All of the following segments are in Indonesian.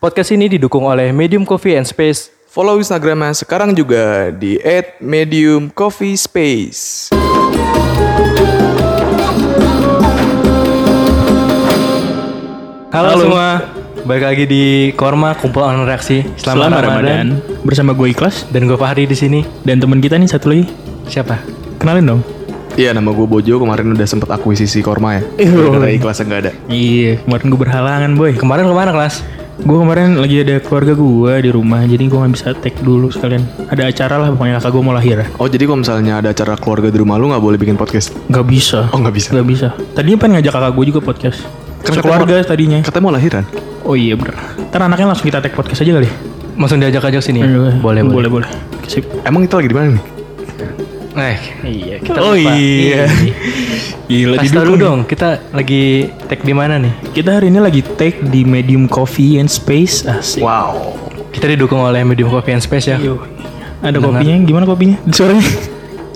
Podcast ini didukung oleh Medium Coffee and Space. Follow Instagramnya sekarang juga di @mediumcoffeespace. Halo, semua, balik lagi di Korma Kumpulan Reaksi. Selamat, Selamat Ramadan. Ramadan. Bersama gue Ikhlas Dan gue Fahri di sini. dan teman kita nih satu lagi. Siapa? Kenalin dong. Iya nama gue Bojo kemarin udah sempet akuisisi korma ya. Iya. Karena ikhlasnya nggak ada. Iya, kemarin gue berhalangan boy. Kemarin kemana kelas? Gue kemarin lagi ada keluarga gue di rumah, jadi gue nggak bisa tag dulu sekalian. Ada acara lah, pokoknya kakak gue mau lahir. Oh jadi kalau misalnya ada acara keluarga di rumah lu nggak boleh bikin podcast? Gak bisa. Oh nggak bisa. Gak bisa. Tadinya pengen ngajak kakak gue juga podcast. Kan keluarga tadinya. Katanya mau lahiran. Oh iya bener. Ntar anaknya langsung kita tag podcast aja kali. Langsung diajak ajak sini. ya? Boleh, Iya. boleh, boleh. Sip. Emang kita lagi di mana nih? Eh, Iya. Oh oh iya. iya. Gila kasih tau dulu dong. Kita lagi tag di mana nih? Kita hari ini lagi tag di Medium Coffee and Space. Asik. Wow. Kita didukung oleh Medium Coffee and Space ya. Yo. Ada kopinya? Gimana kopinya? Suaranya?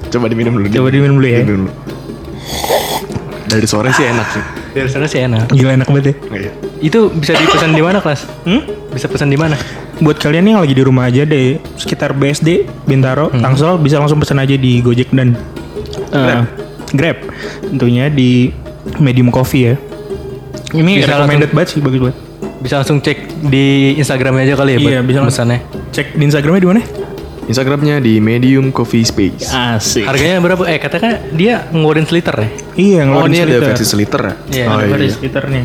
Coba diminum dulu. Coba diminum dulu ya. Diminum dulu. Dari sore sih enak sih. Dari sana sih enak. Gila enak banget ya. Iya. Itu bisa dipesan di mana kelas? Hmm? Bisa pesan di mana? Buat kalian yang lagi di rumah aja deh, sekitar BSD, Bintaro, Tangsel, bisa langsung pesan aja di Gojek dan eh, Grab. Tentunya di Medium Coffee ya. Ini Bisa recommended banget sih, bagus banget. Bisa langsung cek di Instagramnya aja kali ya. buat Iya, bisa langsung. pesannya. Cek di Instagramnya di mana? Instagramnya di Medium Coffee Space. Asik. Harganya berapa? Eh, katanya dia ngeluarin seliter ya. Ah, Iya, Oh ngeluarin ini ada seliter. versi seliter ya? Iya, oh, Ada iya. versi seliternya.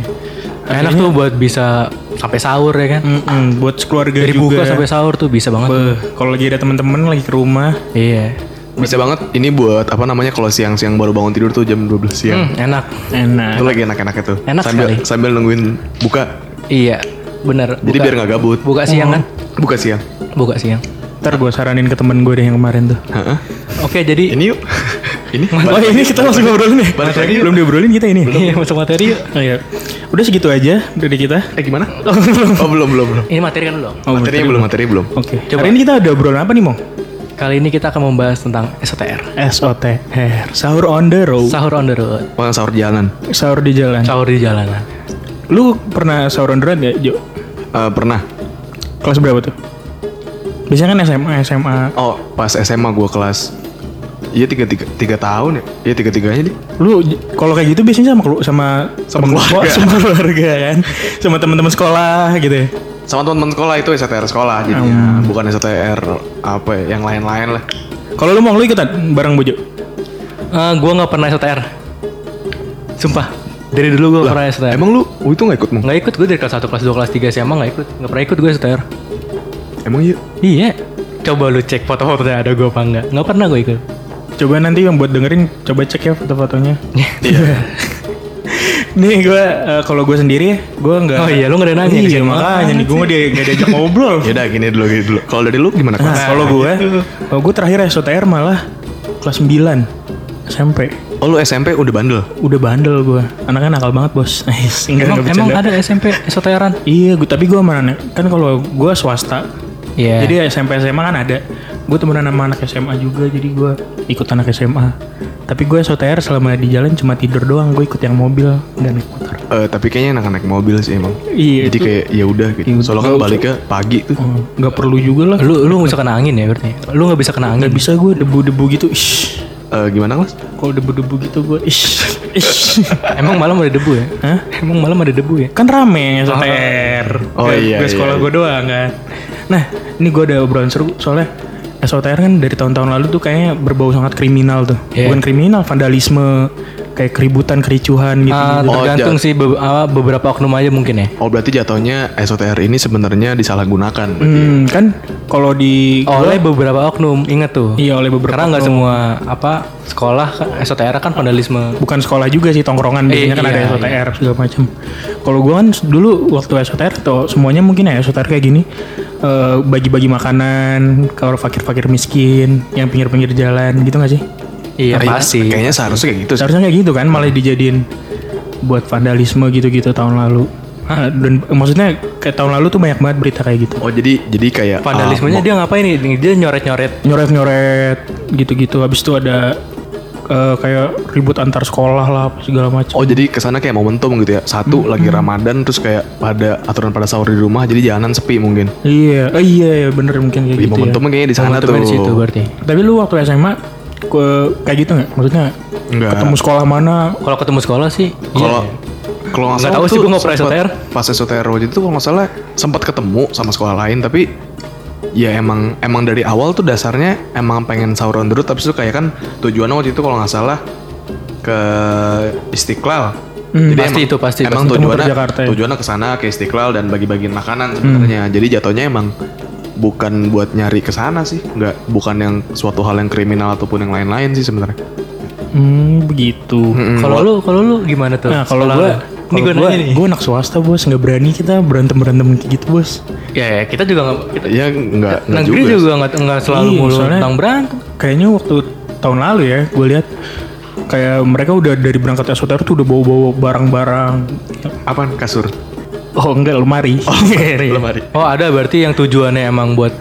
Enak tuh buat bisa sampai sahur ya kan. Mm-mm, buat keluarga Dari buka juga. sampai sahur tuh bisa Iya banget. Beh, Kalau lagi ada teman-teman lagi ke rumah, Iya. Bisa banget ini buat apa namanya kalau siang-siang baru bangun tidur tuh jam 12 siang. Hmm, enak. enak. Itu lagi enak-enak itu. Enak sambil sekali. sambil nungguin buka. Iya, bener. Jadi Buka- biar nggak gabut. buka siang kan? Buka siang. Buka siang. Ntar gue saranin ke temen gue deh yang kemarin tuh. Heeh. Oke, jadi Ini yuk. ini. Oh ini kita langsung ngobrolin nih. Balik lagi yuk. Belum diobrolin kita ini. Iya, masuk materi yuk. Oh, iya. Udah segitu aja dari kita. Eh gimana? oh belum belum belum. Ini materi kan dong. Oh, materinya belum, materinya belum. Oke. Hari ini kita ada obrolan apa nih, Mong? Kali ini kita akan membahas tentang SOTR. SOTR, sahur on the road. Sahur on the road. Orang sahur jalanan. sahur di jalan. Sahur di jalanan. Lu pernah sahur on the road gak, Jo? Eh, pernah. Kelas berapa tuh? Biasanya kan SMA, SMA. Oh pas SMA gue kelas. Iya tiga tiga tiga tahun ya. Iya tiga tiganya deh. Lu j- kalau kayak gitu biasanya sama kelu- sama Sama temen- keluarga. sama keluarga kan. Sama teman-teman sekolah gitu ya. Sama teman-teman sekolah itu STR sekolah jadinya. Bukan STR apa ya, yang lain-lain lah. Kalau lu mau lu ikutan bareng Bojo. Eh, gua nggak pernah SOTR. Sumpah. Dari dulu gua nggak pernah SOTR. Emang lu oh, itu nggak ikut mong? Nggak ikut gue dari kelas 1, kelas 2, kelas 3 SMA nggak ikut. Nggak pernah ikut gue SOTR. Emang iya. Iya. Coba lu cek foto-fotonya ada gue apa enggak. Nggak pernah gue ikut. Coba nanti yang buat dengerin coba cek ya foto-fotonya. Iya. Nih gue kalau gue sendiri gue nggak. Oh iya, lu nggak ada nanya di sini. Iya Oh. makanya nih gue dia nggak diajak ngobrol. Yaudah gini dulu gini dulu. Kalau dari lu gimana? Kak? Nah, kalau gue, gitu. kalau gue terakhir SOTR malah kelas 9 SMP. Oh lu SMP udah bandel. Udah bandel gue. Anaknya nakal banget bos. Enggak, Emang, enggak emang bercanda. ada SMP SOTRan? Iya, gue tapi gue mana kan kalau gue swasta. Iya. Jadi SMP SMA kan ada. Gue temenan sama anak SMA juga, jadi gue ikut anak SMA. Tapi gue SOTR selama di jalan cuma tidur doang. Gue ikut yang mobil dan naik motor. Eh tapi kayaknya enak naik mobil sih emang. Iya, Jadi kayak ya udah gitu. Soalnya kan baliknya pagi tuh. Gak Hmm, perlu juga lah. Lu lu nggak bisa kena angin ya berarti. Lu nggak bisa kena angin. Gak bisa gue debu-debu gitu. Ish. Eh gimana mas? Kalau debu-debu gitu gue ish. ish. Emang malam ada debu ya? Hah? Emang malam ada debu ya? kan rame yang SOTR. Oh, Gak- iya, gak iya, sekolah iya. gue doang kan. Nah, ini gue ada obrolan seru soalnya SOTR kan dari tahun-tahun lalu tuh kayaknya berbau sangat kriminal tuh. Iya. Bukan kriminal, vandalisme, kayak keributan, kericuhan gitu. Ah, Oh, tergantung sih be- ah, beberapa oknum aja mungkin ya. Oh berarti jatuhnya SOTR ini sebenarnya disalahgunakan. Ah, iya. Hmm, kan kalau di Oleh beberapa oknum, ingat tuh. iya oleh beberapa Karena Oh. nggak semua apa sekolah kan, SOTR kan vandalisme. bukan sekolah juga sih tongkrongan biasanya Eh, kan ada iya, SOTR segala macam. Kalau gue kan dulu waktu SOTR atau semuanya mungkin ya SOTR kayak gini eh, bagi-bagi makanan ke orang fakir-fakir miskin yang pinggir-pinggir jalan gitu gak sih? Iya Kayaknya- pasti. Kayaknya seharusnya kayak gitu sih. Seharusnya kayak gitu kan malah dijadiin buat vandalisme gitu-gitu tahun lalu. Ah, dan maksudnya kayak tahun lalu tuh banyak banget berita kayak gitu. Oh jadi jadi kayak Vandalismenya dia ngapain nih? Dia nyoret-nyoret. Nyoret-nyoret gitu-gitu habis itu ada eh, kayak ribut antar sekolah lah apa segala macam. Oh jadi kesana kayak momentum gitu ya Hmm. Satu lagi Ramadan terus kayak pada aturan pada sahur di rumah Jadi jalanan sepi mungkin Iya, eh, iya ya bener mungkin kayak Di gitu ya. momentumnya kayaknya di sana tuh Temen situ berarti. Tapi lu waktu SMA ke- kayak gitu nggak? Maksudnya Enggak ketemu sekolah mana? Kalau ketemu sekolah sih, Kalau kalau Iya. nggak Nggak salah tahu sih, tuh gua nggak pernah sempat- SOTR. Pas SOTR waktu itu kalau nggak salah sempat ketemu sama sekolah lain tapi ya emang emang dari awal tuh dasarnya emang pengen sahur on the road tapi itu kayak kan tujuannya waktu itu kalau nggak salah ke Istiqlal. Hmm, pasti itu, pasti, Emang pasti. tujuannya Muter Jakarta ya. tujuannya ke sana ke Istiqlal dan bagi-bagiin Hmm. makanan sebenarnya. Jadi jatuhnya emang bukan buat nyari ke sana sih, nggak bukan yang suatu hal yang kriminal ataupun yang lain-lain sih sebenarnya. Hmm, begitu. Mm-mm. kalau lu kalau lu gimana tuh? Nah, kalau Sekolah lu? gua ini kalau gua gua, nanya nih. gua anak swasta bos, nggak berani kita berantem berantem kayak gitu bos. Ya, ya, kita juga nggak kita- Ya nggak nggak negeri juga. juga nggak nggak selalu Iya, mulu soalnya- tentang berantem. Kayaknya waktu tahun lalu ya, gue lihat kayak mereka udah dari berangkat SOTR tuh udah bawa-bawa barang-barang. Apaan kasur? Oh enggak lemari. Oh, Lemari. Oh, ada berarti yang tujuannya emang buat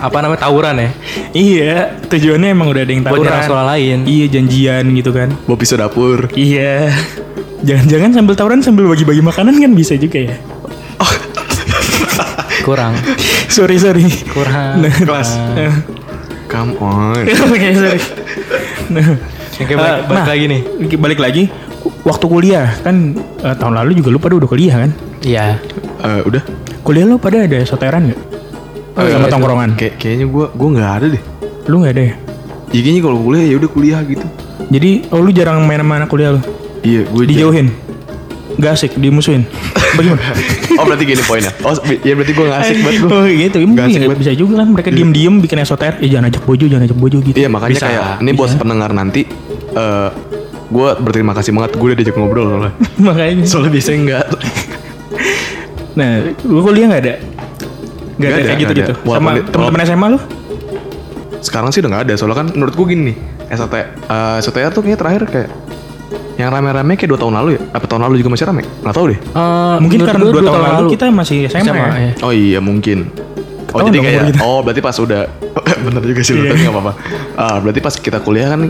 apa namanya tawuran ya? Iya, tujuannya emang udah ada yang Buat tahu. nyerang sekolah lain. Iya janjian gitu kan. Bawa pisau dapur. Iya. Jangan-jangan sambil tawuran sambil bagi-bagi makanan kan bisa juga ya. Kurang, Sorry sorry. kurang. Nah, Kelas. Eh, Come on. Oke sorry. Nah, Yang kayak balik, Eh, balik nah. lagi nih. balik lagi waktu kuliah kan eh, tahun lalu juga lu pada udah kuliah kan? Iya. Eh, udah. Kuliah lu pada ada soteran nggak? Oh, iya, Sama itu. tongkrongan. Kayak kayaknya gua gua nggak ada deh. Lu nggak ada ya? Ya, kayaknya kalau kuliah ya udah kuliah gitu. Jadi oh, lu jarang main sama anak kuliah lu? Iya, gue Dijauhin? Gak asik, dimusuhin? Bagaimana? Oh berarti gini poinnya. Oh bi- ya berarti gue nggak asik banget gue. Oh gitu, ya, Nggak mungkin asik nggak banget. bisa juga kan mereka diem-diem bikin SOTR, eh jangan ajak bojo, jangan ajak bojo gitu. Iya makanya Bisa, kayak ini buat pendengar nanti. eh gue berterima kasih banget gue udah diajak ngobrol soalnya. Makanya. Soalnya biasanya nggak. Nah, lu kuliah nggak ada? Nggak Nggak ada ada, kayak nggak gitu-gitu. ada. Walaupun Sama di- teman-teman SMA lu? Sekarang sih udah nggak ada. Soalnya kan menurut gue gini nih. SAT, eh, STR tuh kayaknya terakhir kayak yang rame-rame kayak dua tahun lalu ya. Apa tahun lalu juga masih rame? Nggak tahu deh. Eh, Mungkin menurut karena gua Ah, dua dua tahun, lalu kita masih SMA, sama ya. ya. Oh iya mungkin. Oh Ketahuan jadi dong kayak umur kita. oh berarti pas udah bener juga sih lu tapi Iya. nggak apa-apa. Ah, berarti pas kita kuliah kan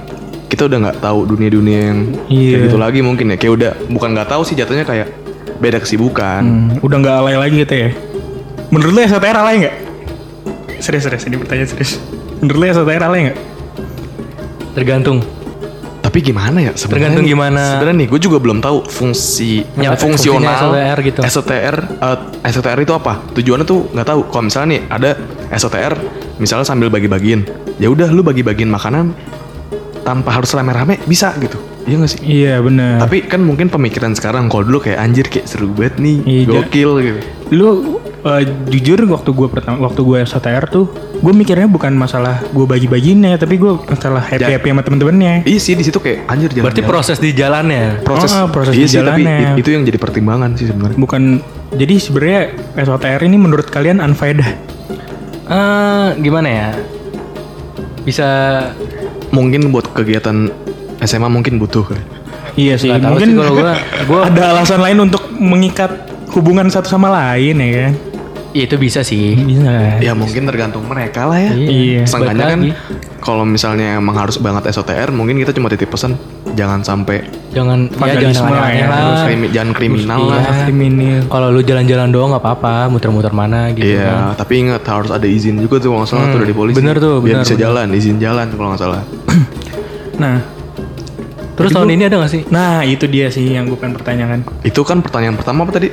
kita udah nggak tahu dunia-dunia yang Iya. kayak gitu lagi mungkin ya. Kayak udah bukan nggak tahu sih jatuhnya kayak beda kesibukan. Hmm, udah nggak alay lagi gitu ya. Menurut lu SOTR alay nggak? Serius, serius, ini pertanyaan serius. Menurut lu SOTR alay nggak? Tergantung. Tapi gimana ya Tergantung nih- gimana. Sebenarnya nih gue juga belum tahu fungsi Ya, fungsional fungsinya SOTR gitu. SOTR eh, SOTR itu apa? Tujuannya tuh nggak tahu. Kalau misalnya nih ada SOTR misalnya sambil bagi-bagiin. Ya udah lu bagi-bagiin makanan tanpa harus rame-rame bisa gitu. Iya nggak sih? Iya benar. Tapi kan mungkin pemikiran sekarang kalau dulu kayak anjir kayak seru banget nih, Iya. gokil gitu. lu eh, jujur waktu gue pertama waktu gue STR tuh gue mikirnya bukan masalah gue bagi-bagiinnya tapi gue masalah happy happy sama temen-temennya Iya sih di situ kayak anjir jalan. Berarti proses di jalannya. proses Ah, proses iya di sih, tapi jalannya. i- itu yang jadi pertimbangan sih sebenarnya. bukan jadi sebenarnya SOTR ini menurut kalian unfaedah Eh, gimana ya? Bisa Mungkin buat kegiatan SMA mungkin butuh. kali. iya sih Nggak tahu mungkin sih kalau gua- gua- ada alasan lain untuk mengikat hubungan satu sama lain ya kan ya itu bisa sih. bisa Ya mungkin tergantung mereka lah ya. Iya. balik Sangkanya kan lagi. kalau misalnya emang harus banget SOTR, mungkin kita cuma titip pesan jangan sampai jangan ya Vandalisme jangan lah aneh-aneh ya, lah. harus krimi- jangan kriminal lah. Iya. kriminal Kalau lu jalan-jalan doang nggak apa-apa, muter-muter mana gitu. Iya, kan. tapi ingat harus ada izin juga tuh kalau nggak salah tuh dari polisi. bener tuh, biar bener, bisa bener. jalan, izin jalan kalau nggak salah. nah Terus tahun ini ada nggak sih? nah itu dia sih yang gue pengen pertanyakan Itu kan pertanyaan pertama apa tadi?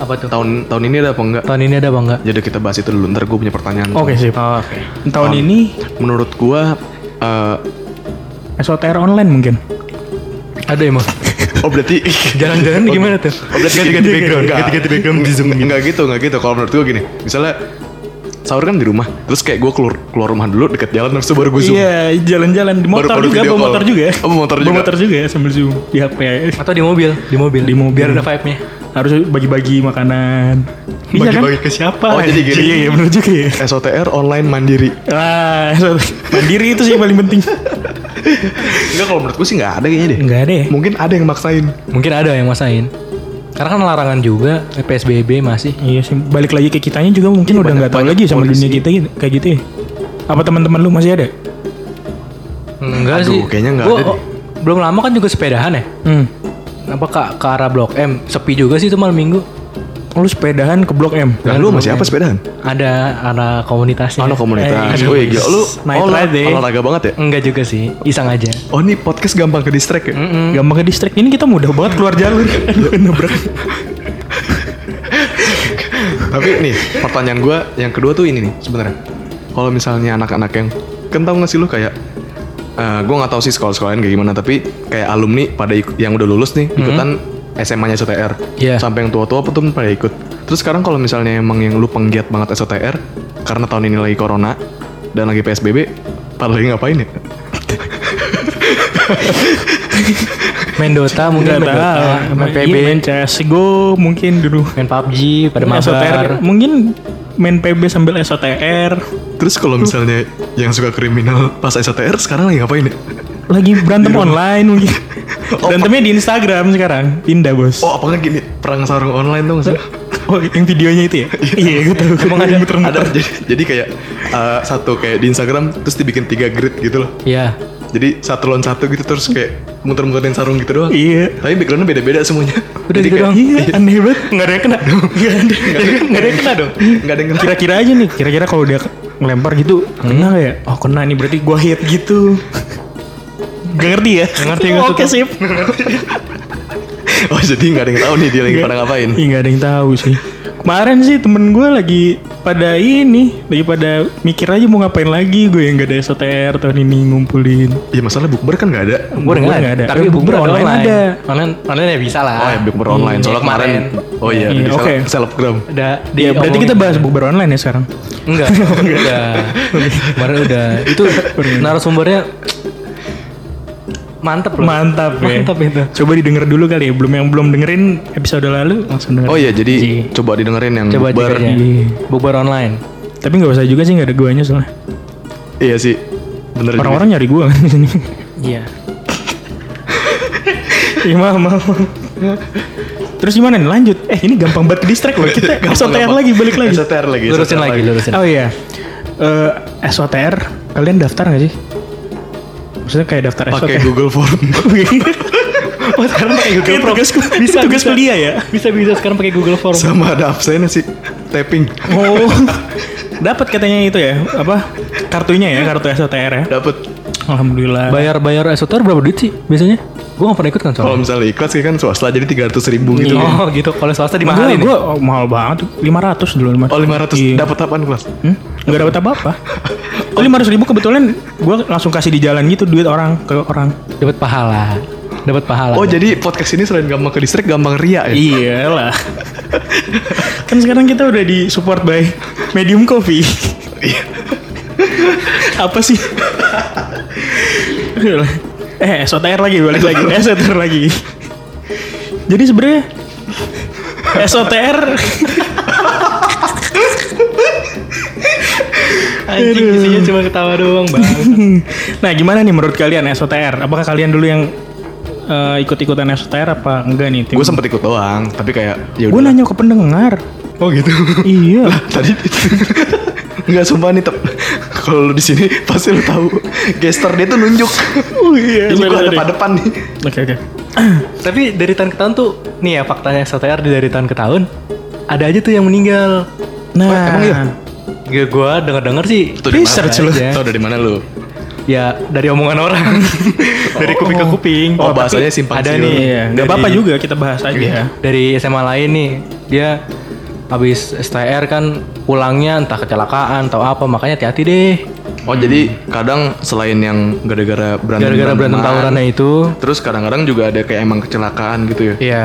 Apa tuh? Tahun tahun ini ada apa enggak? Tahun ini ada apa enggak? Jadi kita bahas itu dulu. Ntar gue punya pertanyaan. oke sip oke. tahun ini Menurut gue, eh SOTR online mungkin Ada emang. oh berarti Jalan-jalan gimana tuh? Oh berarti ganti-ganti background, ganti-ganti background di zoom. Enggak gitu, enggak gitu. Kalau menurut gue gini, misalnya sahur kan di rumah, terus kayak gue keluar keluar rumah dulu deket jalan, terus baru gue zoom. Iya, jalan-jalan di Baru- motor baru juga, video bawa call. motor juga. ya. Oh, bawa motor juga. Bawa motor juga ya, sambil zoom di HP. Atau di mobil, di mobil. Di mobil. Biar ada vibe-nya. Harus bagi-bagi makanan. Bisa Bagi-bagi kan? ke siapa? Oh, jadi gini. Iya, iya, bener juga ya. SOTR online mandiri. Ah, mandiri itu sih yang paling penting. Enggak kalau menurut gue sih enggak ada kayaknya deh. Enggak deh. Mungkin ada yang maksain. Mungkin ada yang masain. Karena kan larangan juga, eh, PSBB masih. Iya sih, balik lagi ke kitanya juga mungkin Iya, udah banyak- nggak tahu banyak lagi sama polisi. dunia kita gitu- kayak gitu ya. Apa teman-teman lu masih ada? Enggak Aduh, sih. kayaknya nggak Gua- ada deh. oh, belum lama kan juga sepedahan ya? Hmm. Apa ke, ke arah Blok M? Sepi juga sih itu malam minggu. Oh, Lu sepedahan ke Blok M. Nah, lu masih apa sepedaan? Ada anak komunitasnya. Oh, lu komunitas. Eh, Wih, gila lu night oh, lu ride, eh. olahraga banget ya? Enggak juga sih, iseng aja. Oh, ini podcast gampang ke distract ya? Gampang ke distrik ini kita mudah banget keluar jalur. Nabrak. Tapi nih, pertanyaan gua yang kedua tuh ini nih sebenarnya. Kalau misalnya anak-anak yang kan tau nggak sih lu kayak eh gue nggak tahu sih sekolah-sekolahan kayak gimana tapi kayak alumni pada ikut, yang udah lulus nih ikutan SMA-nya STR Iya. sampai yang tua-tua pun tuh pada ikut terus sekarang kalau misalnya emang yang lu penggiat banget STR karena tahun ini lagi corona dan lagi PSBB pada lagi ngapain ya Main Dota mungkin Enggak main tahu. Dota, main PB, Iya, Main CSGO mungkin dulu. main PUBG, pada SOTR. mabar. Mungkin main PB sambil SOTR. terus kalau misalnya yang suka kriminal pas STR sekarang lagi ngapain ya Lagi berantem online mungkin. Berantemnya di Instagram sekarang. Pindah bos. oh apakah gini perang sarung online tuh nggak sih? Oh, yang videonya itu ya? iya, gue tahu. Iya. Emang ada ada jadi, jadi kayak eh, satu kayak di Instagram terus dibikin tiga grid gitu loh Iya. jadi satu lawan satu gitu terus kayak muter-muterin sarung gitu doang Iya. tapi backgroundnya beda-beda semuanya Udah gitu doang. Iya, aneh banget. Nggak ada yang kena. Nggak ada. nggak ada yang kena dong nggak ada yang kena Kira-kira aja nih, kira-kira kalau dia ngelempar gitu, kena nggak ya? Oh kena nih, berarti gua hit gitu. Gak ngerti ya? Gak ngerti, nggak Oke suka. sip. oh jadi nggak ada yang tahu nih dia lagi pada ngapain Iya nggak ada yang tahu sih. Kemarin sih temen gue lagi pada ini, lagi pada mikir aja mau ngapain lagi gue yang gak ada SOTR tahun ini ngumpulin. ya masalah bukber kan nggak ada Bukber Bukber nggak nggak ada. ada. Eh, bukber online ada. Online, online ya bisa lah. Iya, oh ya bukber online soalnya kemarin oh iya Iya, di oke. seleb- selebgram Udah Iya, berarti diomongin. kita bahas bukber online ya sekarang. Enggak, udah. Kemarin udah. Itu narasumbernya mantep loh. Mantap ya. Mantap itu. Coba didengar dulu kali ya, belum yang belum dengerin episode lalu langsung oh denger. iya jadi coba didengerin yang Coba ya. cek bukber aja. Iya. Bukber online. Tapi nggak usah juga sih nggak ada guanya soalnya. iya sih bener juga. Orang-orang nyari gua kan di sini. Iya. Iya mau mau. Terus gimana nih lanjut? Eh ini gampang banget distract loh kita Gampang, SOTR gampang. lagi balik lagi. SOTR lagi Lurusin SOTR lagi, lurusin. Oh iya. Eh SOTR kalian daftar nggak sih? Maksudnya kayak daftar pakai SOTR. Google Form Oh, sekarang pakai Google Kayak Form. tugas, bisa, tugas kuliah ya. Bisa bisa sekarang pakai Google Form. sama ada absennya sih tapping Oh. Dapat katanya itu ya, apa? Kartunya ya, kartu SOTR ya. dapat Alhamdulillah. Bayar-bayar SOTR berapa duit sih biasanya? Gue gak pernah ikut kan kalau soalnya. misalnya ikhlas kayak kan swasta jadi 300 ribu gitu kan. Oh gitu, kalau swasta mahal dimahalin gue ya? mahal banget 500 dulu 500. Oh 500 Iya. dapat apaan kelas? Hmm? Gak dapat apa-apa. Oh, 500 ribu kebetulan gue langsung kasih di jalan gitu duit orang ke orang. Dapat pahala. Dapat pahala. Oh jadi podcast ini selain gampang ke distrik gampang Iya. ria ya? Iyalah. kan sekarang kita udah di support by Medium Coffee. Iya. Apa sih? Aduh lah. eh, SOTR lagi balik lagi. SOTR lagi. Jadi sebenarnya SOTR anjing isinya cuma ketawa doang, Bang. nah gimana nih menurut kalian SOTR? Apakah kalian dulu yang eh, ikut-ikutan SOTR apa enggak nih? Gue sempet ikut doang, tapi kayak ya Gue udah. nanya ke pendengar. Oh gitu. iya. Tadi nggak sumpah nih, tep. kalau lu di sini pasti lu tahu. Gester dia tuh nunjuk. Oh iya. Ini sorry, gue ada sorry. pada depan nih. Oke oke. Tapi dari tahun ke tahun tuh, nih ya faktanya SOTR dari tahun ke tahun, ada aja tuh yang meninggal. Nah, emang iya? Gue gua denger-denger sih, Tuh dari Research mana? lu. Aja. Tau dari mana lu? ya dari omongan orang. dari kuping ke kuping. Oh, tapi bahasanya simpang Ada siur. nih. iya, nggak dari- apa-apa juga kita bahas aja. dari SMA lain nih dia habis STR kan pulangnya entah kecelakaan atau apa makanya hati-hati deh Oh jadi kadang selain yang gara-gara berantem gara-gara berantem tawurannya itu terus kadang-kadang juga ada kayak emang kecelakaan gitu ya. iya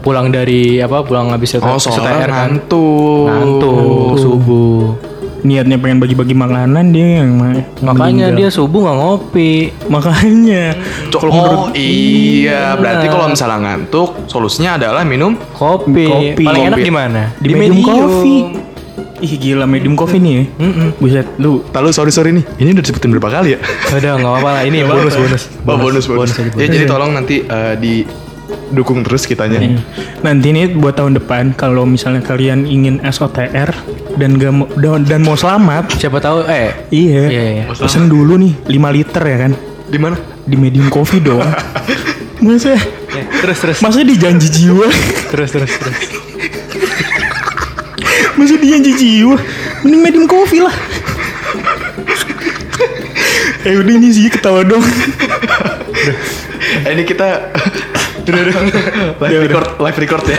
pulang dari apa pulang habis STR, Oh soalnya kan ngantuk. ngantuk subuh Niatnya pengen bagi-bagi makanan dia yang ma- makanya dia subuh nggak ngopi makanya Cok, oh iya, berarti kalau misalnya ngantuk, solusinya adalah minum kopi, Kopi. paling enak Kopi. di mana di, medium, coffee. Ih gila medium coffee nih ya. Buset lu. Lalu sorry sorry nih, ini udah disebutin berapa kali ya? udah nggak apa-apa lah ini ya, bonus bonus Oh, bonus bonus. Ya jadi tolong nanti eh, di dukung terus kitanya. Nanti nih buat tahun depan kalau misalnya kalian ingin SOTR dan gak mau, dan, dan mau selamat, siapa tahu eh iya. Iya, iya. Pesen dulu nih 5 liter ya kan. Di mana? di medium coffee dong masa Ya, terus terus masa di janji jiwa terus terus terus. masa di janji jiwa ini medium coffee lah eh udah ini sih ketawa dong Eh, ini kita Udah, live record, live record ya.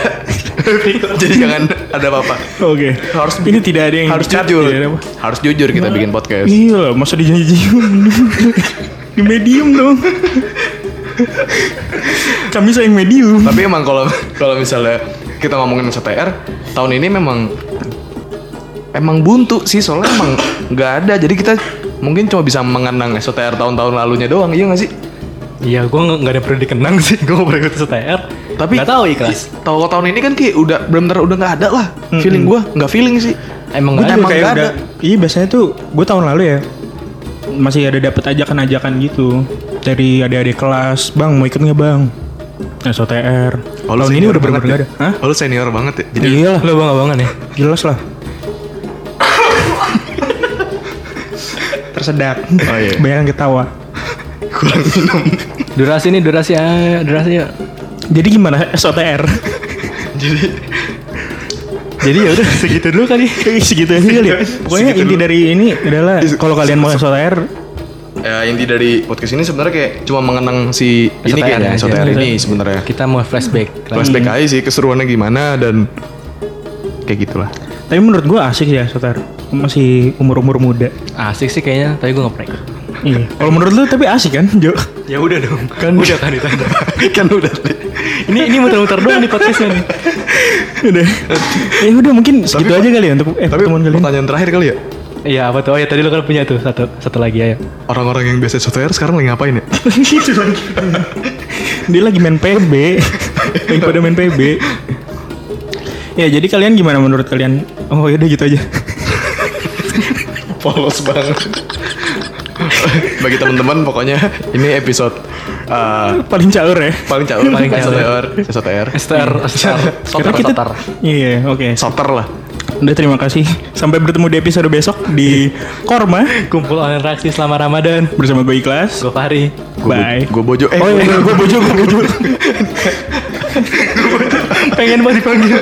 Jadi jangan ada apa-apa. oke Harus- ini tidak ada yang Harus di-cut, jujur. tidak ada apa. Harus jujur kita bikin podcast. Iya lah, masa di janji jiwa di medium dong kami sayang medium Tapi emang kalau kalau misalnya kita ngomongin STR tahun ini memang emang buntu sih soalnya emang nggak ada. Jadi kita mungkin cuma bisa mengenang STR tahun-tahun lalunya doang. Iya nggak sih? Iya, gue nggak ada perlu dikenang sih. Gue mau ikut STR. Tapi nggak tahu ikhlas. Tahu tahun ini kan kayak udah benar-benar udah nggak ada lah. Feeling gua nggak feeling sih. Emang Gua nggak ada. emang kayak nggak ada. udah iya biasanya tuh gue tahun lalu ya masih ada dapat ajakan-ajakan gitu dari adik-adik kelas bang mau ikut nggak bang SOTR Oh, lu tahun ini senior udah bener banget nggak ada ya? Hah? Oh, lu senior banget ya. Jadi iya lah Lo bang abangan ya? jelas lah tersedak Oh, iya. bayangan ketawa kurang minum. Durasi nih, durasi ya, durasi ya. jadi gimana SOTR Jadi Jadi ya udah segitu dulu kali. segitu aja kali ya pokoknya Segitu inti dulu. dari ini adalah kalau kalian mau SOTR ya, inti dari podcast ini sebenarnya kayak cuma mengenang si ini SOTR kan aja. SOTR ini sebenarnya. Kita mau flashback. lagi. Hmm. Flashback aja sih keseruannya gimana dan kayak gitulah. tapi menurut gue asik ya SOTR masih umur-umur muda Asik sih kayaknya, tapi gue nggak pernah ikut. Iya. Kalau menurut lu tapi asik kan, Jo? Ya udah dong. Kan udah kan ditanda. kan udah. ini ini muter-muter doang nih podcastnya nih. Udah. ya udah mungkin segitu aja kali ya untuk eh, Tapi pertemuan kali ini. pertanyaan terakhir kali ya. Iya apa tuh? Oh ya tadi lo kan punya tuh satu satu lagi ayo. Orang-orang yang biasa SOTR sekarang lagi ngapain ya? Gitu lagi. Dia lagi main PB. lagi pada main PB. Ya jadi kalian gimana menurut kalian? Oh ya udah gitu aja. Polos banget. Bagi teman-teman pokoknya ini episode eh, Paling caur ya. paling caur Paling paling caur. SOTR, SOTR, STR, STR, Soter, kita soter. Iya, oke. soter lah. Udah terima kasih. Sampai bertemu di episode besok di Korma Kumpul online reaksi selama Ramadan. bersama gue Ikhlas. Gue Fahri. Bye. Gue bojo eh Oh gua- iya, gue bojo, gue bojo. Pengen banget dipanggil.